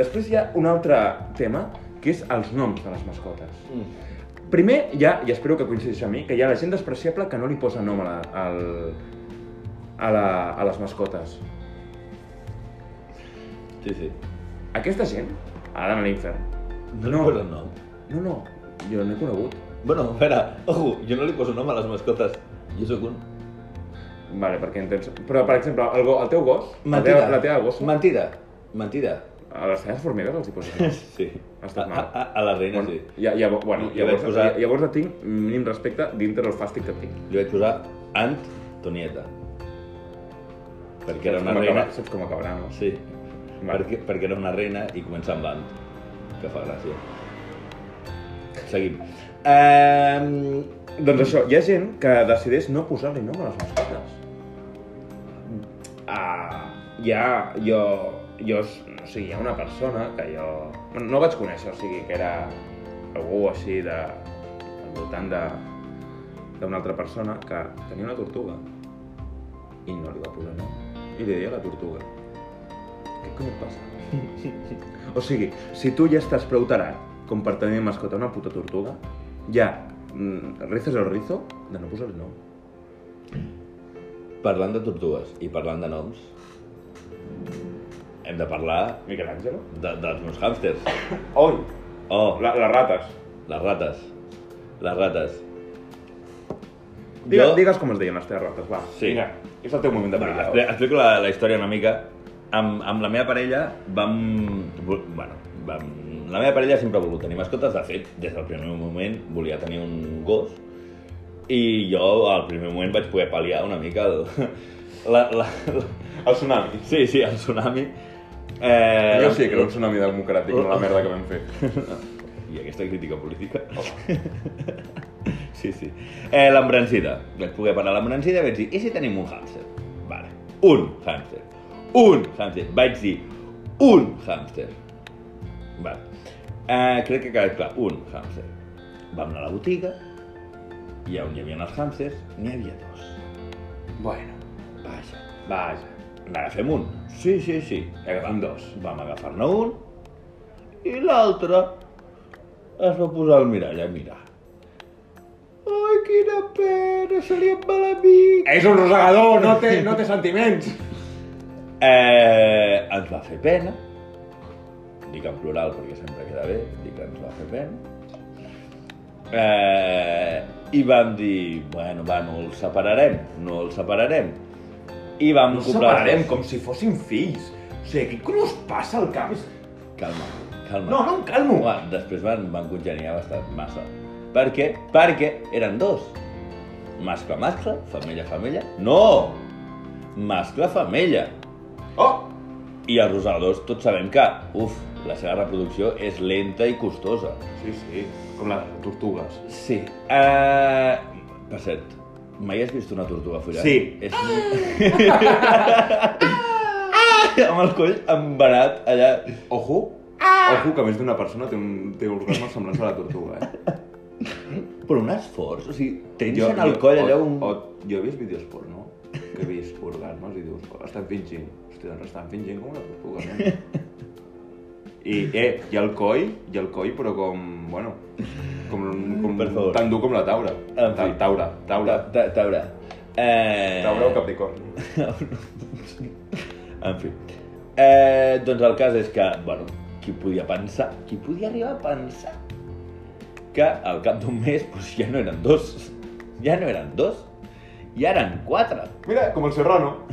S2: després hi ha un altre tema, que és els noms de les mascotes.
S1: Mm.
S2: Primer, hi ha, i espero que coincideixi amb mi, que hi ha la gent despreciable que no li posa nom a, la, al, a, la, a les mascotes.
S1: Sí, sí.
S2: Aquesta gent ha d'anar a l'infern.
S1: No, no. posa nom.
S2: No, no, jo n'he conegut.
S1: Bueno, a veure, ojo, jo no li poso nom a les mascotes. Jo sóc un...
S2: Vale, perquè entens... Però, per exemple, el, go, el teu gos, la teva, la teva gossa,
S1: Mentida. Mentida.
S2: a les teves formigues els hi posa nom.
S1: Sí.
S2: Està
S1: A,
S2: mal.
S1: a, a la reina,
S2: Bueno,
S1: sí.
S2: ja, ja, bueno,
S1: Jo
S2: llavors,
S1: vaig posar-
S2: llavors et tinc mínim respecte dintre del fàstic que et tinc.
S1: Li vaig posar Antonieta. Perquè era una
S2: Saps com
S1: reina...
S2: acabarà- Saps com acabarà, no?
S1: Sí.
S2: Vale.
S1: Perquè, perquè era una reina i comença amb l'ant. Que fa gràcia. Seguim. Um,
S2: Doncs això, hi ha gent que decideix no posar-li nom a les mascotes. Ah, hi ha... Jo... jo o sigui, hi ha una persona que jo... No, no vaig conèixer, o sigui, que era algú així de... al voltant de d'una altra persona que tenia una tortuga i no li va posar nom. I li deia la tortuga. Què cony et passa? o sigui, si tu ja estàs prou tarat com per tenir mascota una puta tortuga, ja mm, rices el rizo de no posar-li nom.
S1: parlant de tortugues i parlant de noms, hem de parlar
S2: Miquel Àngelo?
S1: de, dels meus hàmsters.
S2: Oi!
S1: Oh,
S2: La, les rates.
S1: les rates. Les rates.
S2: Digue, Digues com es deien les teves rates, va.
S1: Sí.
S2: Vinga, és el teu moment de
S1: Bueno,
S2: parlar.
S1: expli- explico la, la història una mica. Amb, amb la meva parella vam... vo- Bueno, vam... La meva parella sempre ha volgut tenir mascotes. De fet, des del primer moment volia tenir un gos. I jo, al primer moment, vaig poder pal·liar una mica el... La, la, la...
S2: El tsunami.
S1: Sí, sí, el tsunami.
S2: Eh, Oh.
S3: Jo sí, que era un tsunami democràtic, no la merda que vam fer.
S1: I aquesta crítica política. sí, sí. Eh, l'embrancida. Vaig poder parlar de l'embrancida i vaig dir, i si tenim un hàmster? Vale. Un hàmster. Un hàmster. Vaig dir, un hàmster. Vale. Eh, crec que ha quedat clar, un hàmster. Vam anar a la botiga, i on hi havia els hàmsters, n'hi havia dos.
S2: Bueno,
S1: Vaja.
S2: vaja.
S1: N'agafem un. Sí, sí, sí.
S2: Agafem dos.
S1: Vam agafar-ne un i l'altre es va posar al mirall a mirar. Ai, quina pena, se li en va l'amic.
S2: És un rosegador, no té, no té sentiments.
S1: Eh, ens va fer pena. Dic en plural perquè sempre queda bé, dic que ens va fer pena. Eh, I vam dir, bueno, va, no el separarem, no el separarem. I vam
S2: No
S1: comprar...
S2: separarem com si fóssim fills. O sigui, què collons passa al cap?
S1: Calma, calma.
S2: No, no em calmo.
S1: Home, després van, van congeniar bastant massa. Per què? Perquè eren dos. Mascle, mascle, femella, femella. No! Mascle, femella.
S2: Oh!
S1: I els rosegadors tots sabem que, uf, la seva reproducció és lenta i costosa.
S2: Sí, sí, com la de les tortugues.
S1: Sí. Uh, per cert, mai has vist una tortuga follant?
S2: Sí.
S1: És... amb el coll embarat allà.
S2: Ojo, ojo que més d'una persona té un té orgasme semblant a la tortuga, eh?
S1: Però un esforç, o sigui, tensen el coll allà un...
S2: O, o, jo he vist vídeos porno, que he vist orgasmes i dius, "Oh, estan fingint. Hòstia, doncs estan fingint com una tortuga, no? I, eh, i el coll, i el coll, però com, bueno, com, com
S1: Per favor.
S2: tan dur com la taura.
S1: En
S2: Ta
S1: fi.
S2: taura, taura.
S1: Ta- ta- Taurà. Eh...
S3: Taurà o Capricorn?
S1: En fi. Eh, doncs el cas és que, bueno, qui podia pensar, qui podia arribar a pensar que al cap d'un mes doncs, ja no eren dos, ja no eren dos, ja eren quatre.
S3: Mira, como el serrano.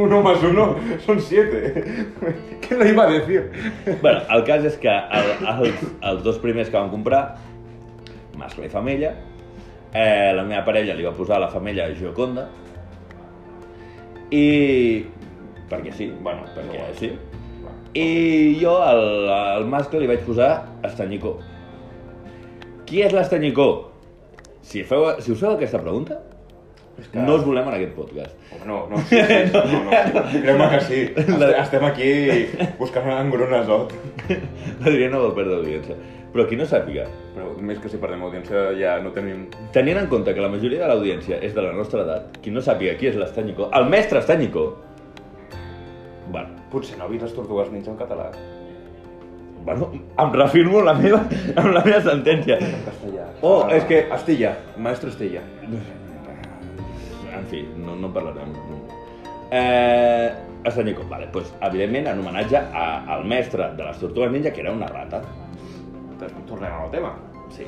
S3: Uno más uno son siete. ¿Qué lo iba a decir?
S1: bueno, el cas és que el, els, els dos primers que van comprar, mascle i femella, eh, la meva parella li va posar la femella Gioconda, i... perquè sí, bueno, perquè sí. I jo al, al mascle li vaig posar Estanyicó. Qui és l'Estanyicó? Si, feu, si us feu aquesta pregunta,
S2: És que-
S1: no us volem en aquest podcast.
S3: Home, no, no, sí, sí, no, no, no. Creu-me que sí. Este- Estem aquí buscant oh. en Gronasot.
S1: L'Adrià no vol perdre audiència. Però qui no sàpiga,
S3: Però més que si perdem audiència ja no tenim...
S1: Tenint en compte que la majoria de l'audiència és de la nostra edat, qui no sàpiga qui és l'Estanyicó, el mestre Estanyicó, bueno,
S3: Potser no ha vist les tortugues ninja en català.
S1: bueno, em reafirmo la meva, amb la meva sentència.
S3: Castellà. Ah,
S1: Oh, és que-
S3: Astilla, maestro Astilla.
S1: Eh, En fi, no, no en parlarem. Eh, Estanyicó, vale, doncs, evidentment en homenatge a, al mestre de les Tortugues Ninja, que era una rata. Doncs
S3: Tornem al tema.
S1: Sí.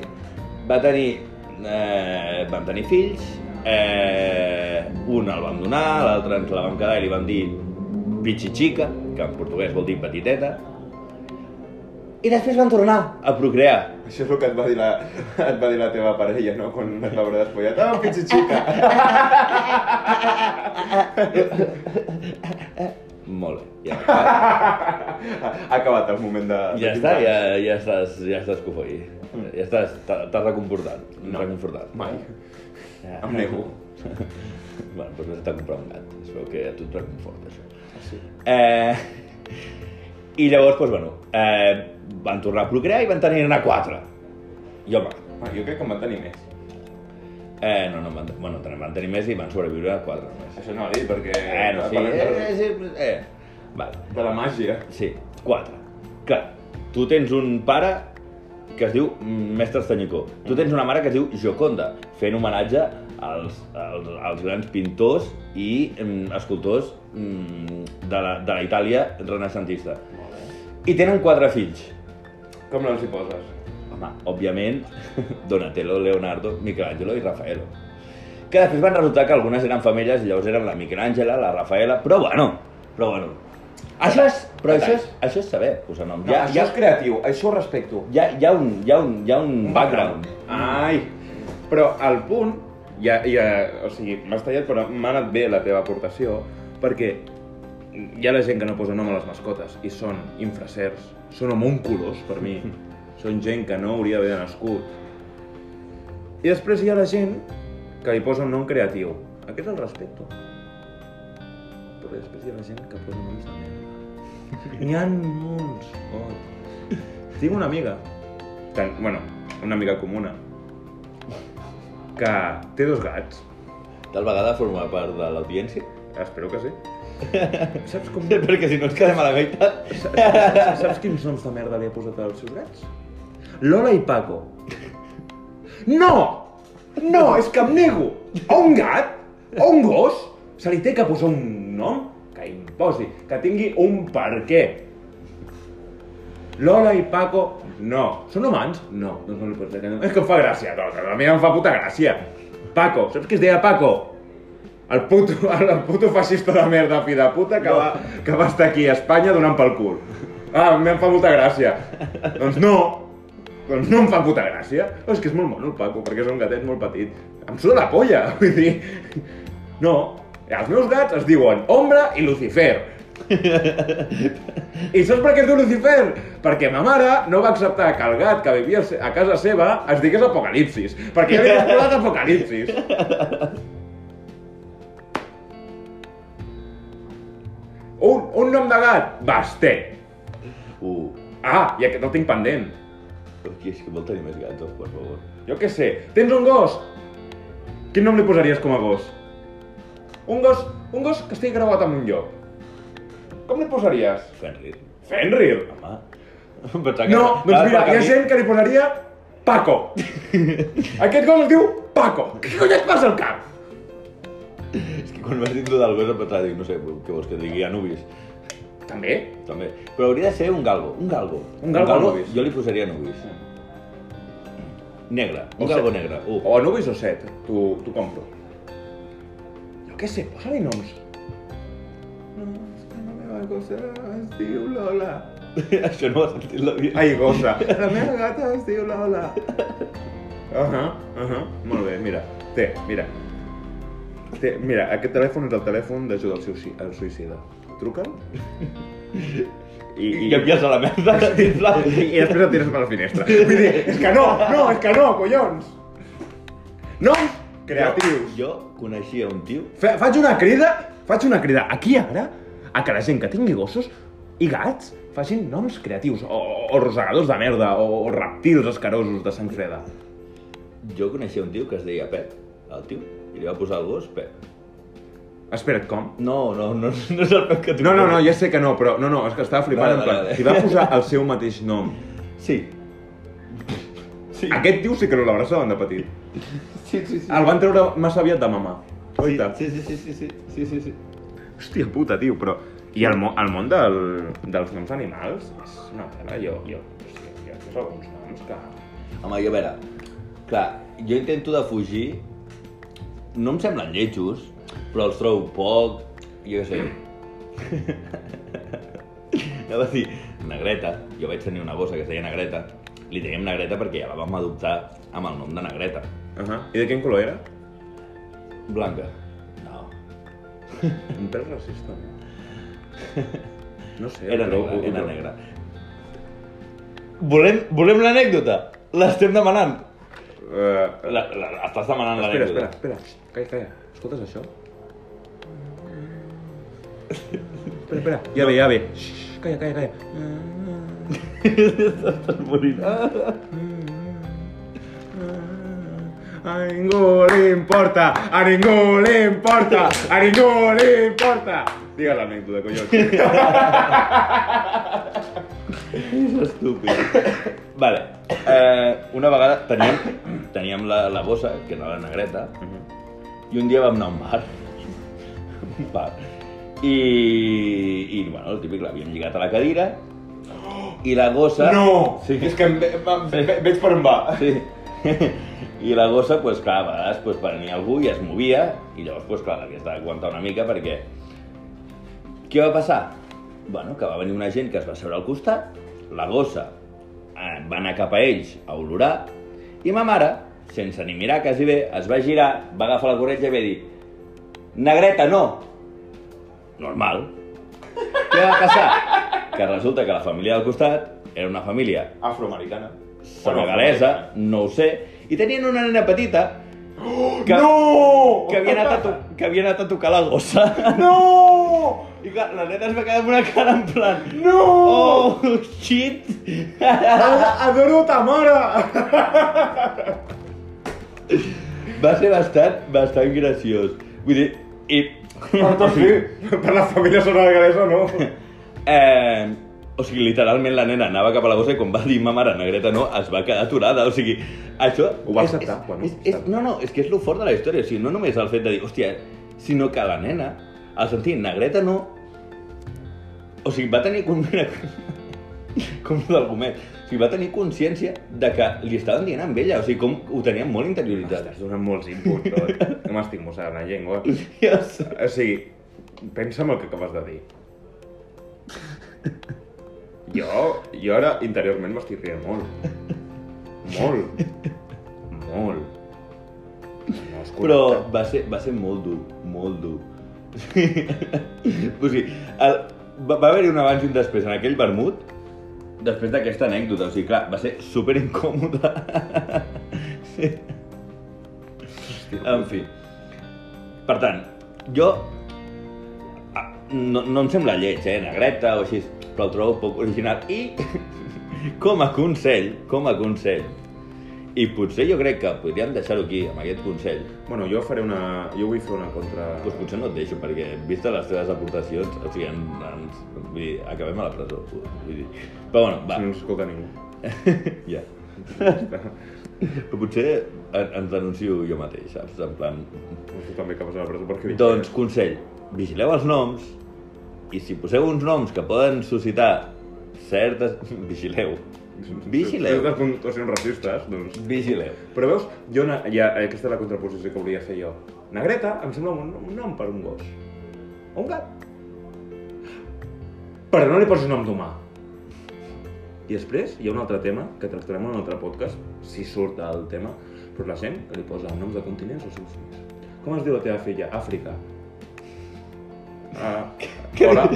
S1: Va tenir... Eh, van tenir fills, eh, un el vam donar, l'altre ens la vam quedar i li vam dir pichichica, que en portuguès vol dir petiteta, i després van tornar a procrear.
S3: Això és el que et va dir la, et va dir la teva parella, no? Quan et va haver despullat. Ah, pichichica!
S1: Molt bé, ja, està.
S3: Ha acabat el moment de...
S1: ja està, ja, ja estàs, ja estàs cofoi. Ja estàs, t'ha- t'has reconfortat,
S3: Mm. No.
S1: reconfortat.
S3: Mai.
S1: Ja.
S3: Em nego.
S1: bueno, doncs vas estar comprar un gat, es veu que a tu et reconforta això.
S3: Ah, Sí.
S1: Eh, I llavors, doncs, bueno, eh, van tornar a procrear i van tenir-ne quatre. I home,
S3: Ah, jo crec que em van tenir més.
S1: eh, no, no, van, bueno, ten- van tenir més i van sobreviure a quatre només.
S3: Això no ho ha dit, perquè...
S1: Eh, no, sí,
S3: parlem
S1: eh,
S3: de,
S1: eh, sí, eh. Vale,
S3: de la màgia.
S1: sí, quatre. Clar, tu tens un pare que es diu Mestre Estanyicó. Tu tens una mare que es diu Joconda, fent homenatge als, als, als grans pintors i mm, escultors mm, de la, de la Itàlia renaixentista.
S3: Molt bé.
S1: I tenen quatre fills.
S3: Com no els hi poses?
S1: Home, òbviament, Donatello, Leonardo, Michelangelo i Raffaello. Que després van resultar que algunes eren femelles i llavors eren la Michelangela, la Raffaella, però bueno, però bueno. Això és, però això és, això és saber posar nom.
S3: No,
S1: Hi ha,
S3: això
S1: hi ha,
S3: és creatiu, això ho respecto.
S1: hi ha, hi ha un, hi ha un, hi ha un background.
S3: Ai, però al punt, ja, ja, o sigui, m'has tallat, però m'ha anat bé la teva aportació, perquè
S2: hi ha la gent que no posa nom a les mascotes i són infracers, són homúnculos per mi, són gent que no hauria d'haver nascut. I després hi ha la gent que li posa un nom creatiu. Aquest el respecto. Però després hi ha la gent que posa noms de merda. N'hi ha molts. Oh. Tinc una amiga, que, bueno, una amiga comuna, que té dos gats.
S1: Tal vegada forma part de l'audiència.
S2: Espero que sí. Saps com...
S1: Perquè si no ens quedem a la meitat...
S2: Saps, saps quins noms de merda li ha posat als seus gats? Lola i Paco. No! No, és que em nego! A un gat, a un gos, se li té que posar un nom que imposi, que tingui un per què. Lola i Paco, no. Són humans? No. Doncs no li pots dir que no. És que em fa gràcia, doncs. A mi em fa puta gràcia. Paco, saps què es deia Paco? El puto, el, el puto fascista de merda, fi de puta, que, va, que va estar aquí a Espanya donant pel cul. Ah, a mi em fa molta gràcia. doncs no, doncs no em fa puta gràcia. Oh, és que és molt mono el Paco, perquè és un gatet molt petit. Em suda la polla, vull dir... No, els meus gats es diuen Ombra i Lucifer. I saps per què es diu Lucifer? Perquè ma mare no va acceptar que el gat que vivia se- a casa seva es digués Apocalipsis, perquè ja havia escolat Apocalipsis. Un, un nom de gat, Basté.
S1: Uh,
S2: Ah, i aquest el tinc pendent.
S1: aquí és que vol tenir més gatos, per favor.
S2: Jo què sé, tens un gos? Quin nom li posaries com a gos? Un gos, un gos que estigui gravat en un lloc. Com li posaries?
S1: Fenrir.
S2: Fenrir.
S1: Home. Em pensava que-
S2: No, doncs
S1: Clar,
S2: mira,
S1: perquè a
S2: hi ha
S1: mi-
S2: gent que li posaria Paco. Aquest gos es diu Paco. Què cony et passa al cap?
S1: És que quan m'has dit lo del gos em pensava, dic, no sé, què vols que digui Anubis,
S2: També?
S1: també. Però hauria de ser un galgo, un galgo.
S2: Un galgo Anubis.
S1: Jo li posaria Anubis. Negre, un
S2: O
S1: galgo
S2: sea-
S1: negre. Uh,
S2: O Anubis o Set, t'ho t'ho compro. Jo què sé, posa-li noms. No, és que la meva gossa es diu Lola.
S1: això no ho has sentit la vida.
S2: Ai, gossa. La meva gata es diu Lola. Ahà, ahà. Molt bé, mira. Té, mira. Té, mira, aquest telèfon és el telèfon d'ajuda al, suïci- al suïcida. Truca'l. I,
S1: I envies a la merda, sisplau.
S2: i, i després et tires per la finestra. Vull dir, és que no, no, és que no, collons! Noms creatius.
S1: Jo coneixia un tio
S2: Fa, faig una crida, faig una crida aquí i ara a que la gent que tingui gossos i gats facin noms creatius o, o- o rosegadors de merda o, o reptils escarosos de sang freda.
S1: Jo coneixia un tio que es deia Pep, el tio, i li va posar el gos Pep.
S2: Espera't, com?
S1: No, no, no, no és el Pep que tu
S2: No, no, no, ja sé que no, però no, no, és que estava flipant
S1: Vale,
S2: en plan,
S1: vale, vale.
S2: si va posar el seu mateix nom.
S1: Sí. Sí,
S2: Aquest tio sí que no l'abraçaven de petit.
S1: sí, sí, sí.
S2: El van treure massa aviat de mamà. Oita.
S1: Sí, sí, sí, sí, sí, sí, sí, sí.
S2: Hòstia puta, tio, però... I el, mo el món del, dels noms animals és una pena, jo, jo, hòstia, jo tinc alguns noms que...
S1: Home, jo a veure, clar, jo intento de fugir, no em semblen lletjos, però els trobo poc, jo què sé. Anava a dir, Negreta, jo vaig tenir una bossa que es deia Negreta, li dèiem Negreta perquè ja la vam adoptar amb el nom de Negreta.
S2: Uh -huh. I de quin color era?
S1: Blanca. No,
S2: Un pèl racista, no? No sé,
S1: Era negra,
S2: però- eh, ho- ho-
S1: era negra. Volem, volem l'anècdota? L'estem demanant?
S2: Eh,
S1: La, la, estàs demanant
S2: espera,
S1: l'anècdota?
S2: espera, espera. Calla, calla. Escoltes això? espera, espera. Ja ve, ja ve. Xxxt, calla, calla, calla.
S1: Estàs morint.
S2: A ningú li importa, a ningú li importa, a ningú li importa. Digues l'anècdota, collons.
S1: És estúpid. vale. Eh, una vegada teníem, teníem la, la bossa, que era la negreta, i un dia vam anar a un bar. un bar. I, i bueno, el típic l'havíem lligat a la cadira, i la gossa...
S3: No!
S1: Sí.
S3: És que em ve, em ve, ve- veig per on va.
S1: Sí. I la gossa, pues, clar, a vegades pues, venia algú i es movia, i llavors, pues, clar, l'havies d'aguantar una mica perquè... Què va passar? Bueno, que va venir una gent que es va seure al costat, la gossa eh, va anar cap a ells a olorar, i ma mare, sense ni mirar quasi bé, es va girar, va agafar la corretja i va dir «Negreta, no!» Normal. Què va passar? Que resulta que la família del costat era una família
S3: Afroamericana.
S1: senegalesa, no ho sé, i tenien una nena petita que,
S2: Oh,
S3: No!
S1: que, havia anat a to, que havia anat a tocar la gossa.
S2: Ah,
S3: No!
S1: I clar, la nena es va quedar amb una cara en plan...
S3: No!
S1: Oh, shit!
S3: Ah, Adoro ta mare!
S2: Ah,
S1: Va ser bastant, bastant graciós. Vull dir, i...
S3: Per tot sí, per la família senegalesa no.
S1: Eh, o sigui, literalment la nena anava cap a la gossa i quan va dir ma mare negreta no, es va quedar aturada. O sigui, això...
S2: Ho va
S1: és-
S2: acceptar,
S1: És,
S2: bueno,
S1: és, és, no, no, és que és lo fort de la història. O sigui, no només el fet de dir, hòstia, sinó que la nena, al sentir negreta no... O sigui, va tenir... Com, mira, com lo del gomet. O sigui, va tenir consciència de que li estaven dient amb ella. O sigui, com ho tenien molt interioritzat.
S2: Estàs donant molts inputs, oi? No m'estic mossegant la llengua.
S1: Ja ho sé.
S2: O sigui, pensa en el que acabes de dir. Jo, jo ara interiorment m'estic rient molt. Molt. Molt. No és
S1: Però
S2: correcte.
S1: va ser, va ser molt dur, molt dur. o sigui, el, va, va haver-hi un abans i un després en aquell vermut, després d'aquesta anècdota, o sigui, clar, va ser super incòmode. sí. En fi. Per tant, jo... ah, No, no em sembla lleig, eh, negreta o així, però el trobo poc original. I com a consell, com a consell, i potser jo crec que podríem deixar-ho aquí, amb aquest consell,
S2: Bueno, jo faré una... Jo vull fer una contra...
S1: doncs potser no et deixo, perquè vistes les teves aportacions, o sigui, en, en, vull dir, acabem a la presó. Vull dir. Però bueno,
S2: Si no
S1: va,
S2: ens escolta ningú.
S1: ja. Però potser en, ens denuncio jo mateix, saps? En plan...
S2: Tu també acabes a la presó perquè... dic-
S1: Doncs, consell, vigileu els noms i si poseu uns noms que poden suscitar certes... Vigileu. Vigileu.
S2: Certes puntuacions racistes, doncs...
S1: Vigileu.
S2: Però veus, jo, na- ja, aquesta és la contraposició que volia fer jo. Negreta em sembla un, un nom per un gos. O un gat. Però no li posis nom d'humà. I després hi ha un altre tema que tractarem en un altre podcast, si surt el tema, però la gent que li posa noms de continents als seus fills. Com es diu la teva filla? Àfrica. Ah, hola.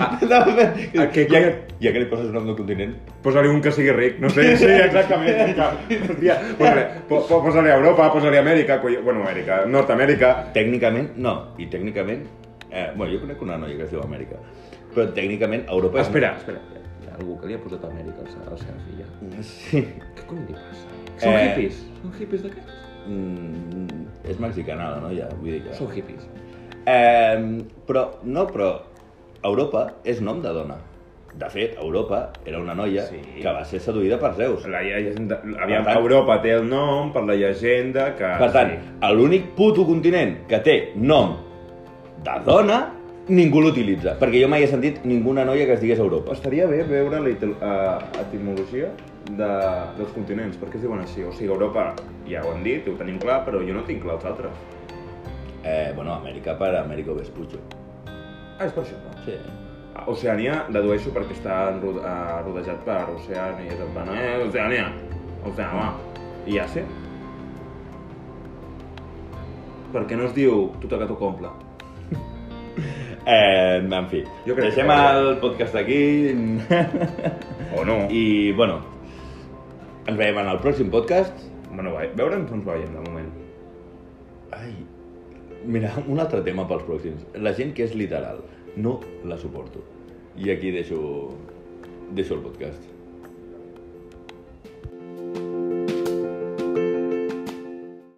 S1: No,
S2: a què-
S1: ja, ja que li poses nom del continent,
S2: Posa-li un que sigui ric, no sé.
S3: Sí, exactament.
S2: Hòstia, posa-li po- po- posa-li a Europa, posa-li a Amèrica, coi- bueno, Amèrica, Nord-Amèrica.
S1: tècnicament, no. I tècnicament... Eh, bueno, jo conec una noia que es diu Amèrica. Però tècnicament Europa... és-
S2: Ah, Espera, espera. Mm, Hi ha algú que li ha posat Amèrica a la seva- a la seva filla.
S1: Sí.
S2: Què cony li passa?
S1: Són
S2: Són
S1: Eh. hippies?
S2: hippies. Són hippies d'aquests?
S1: Mm, és mexicana, la noia, vull dir que...
S2: Són hippies.
S1: Eh, però, no, però Europa és nom de dona. De fet, Europa era una noia
S2: Sí.
S1: que va ser seduïda per Zeus.
S2: La llegenda...
S1: aviam,
S2: Aviam, Europa té el nom per la llegenda que...
S1: Per tant, l'únic puto continent que té nom de dona, ningú l'utilitza. Perquè jo mai he sentit ninguna noia que es digués Europa.
S2: Estaria bé veure l'etimologia de, dels continents, perquè es diuen així. O sigui, Europa, ja ho hem dit, ho tenim clar, però jo no tinc clar els altres.
S1: Eh, bueno, Amèrica per Américo Vespucci.
S2: Ah, és per això, no?
S1: Sí.
S2: Oceania, dedueixo perquè està enro- eh, rodejat per Oceania i és en plan, eh, Oceania, Oceania, i ja sé. Per què no es diu tu toca tu comple?
S1: Eh, en fi,
S2: Jo crec
S1: deixem
S2: que-
S1: el podcast aquí
S2: O no. I,
S1: i, bueno, ens veiem en el pròxim podcast.
S2: bueno, va, veurem com ens veiem de moment.
S1: Ai, mira, un altre tema pels pròxims. La gent que és literal, no la suporto. I aquí deixo, deixo el podcast.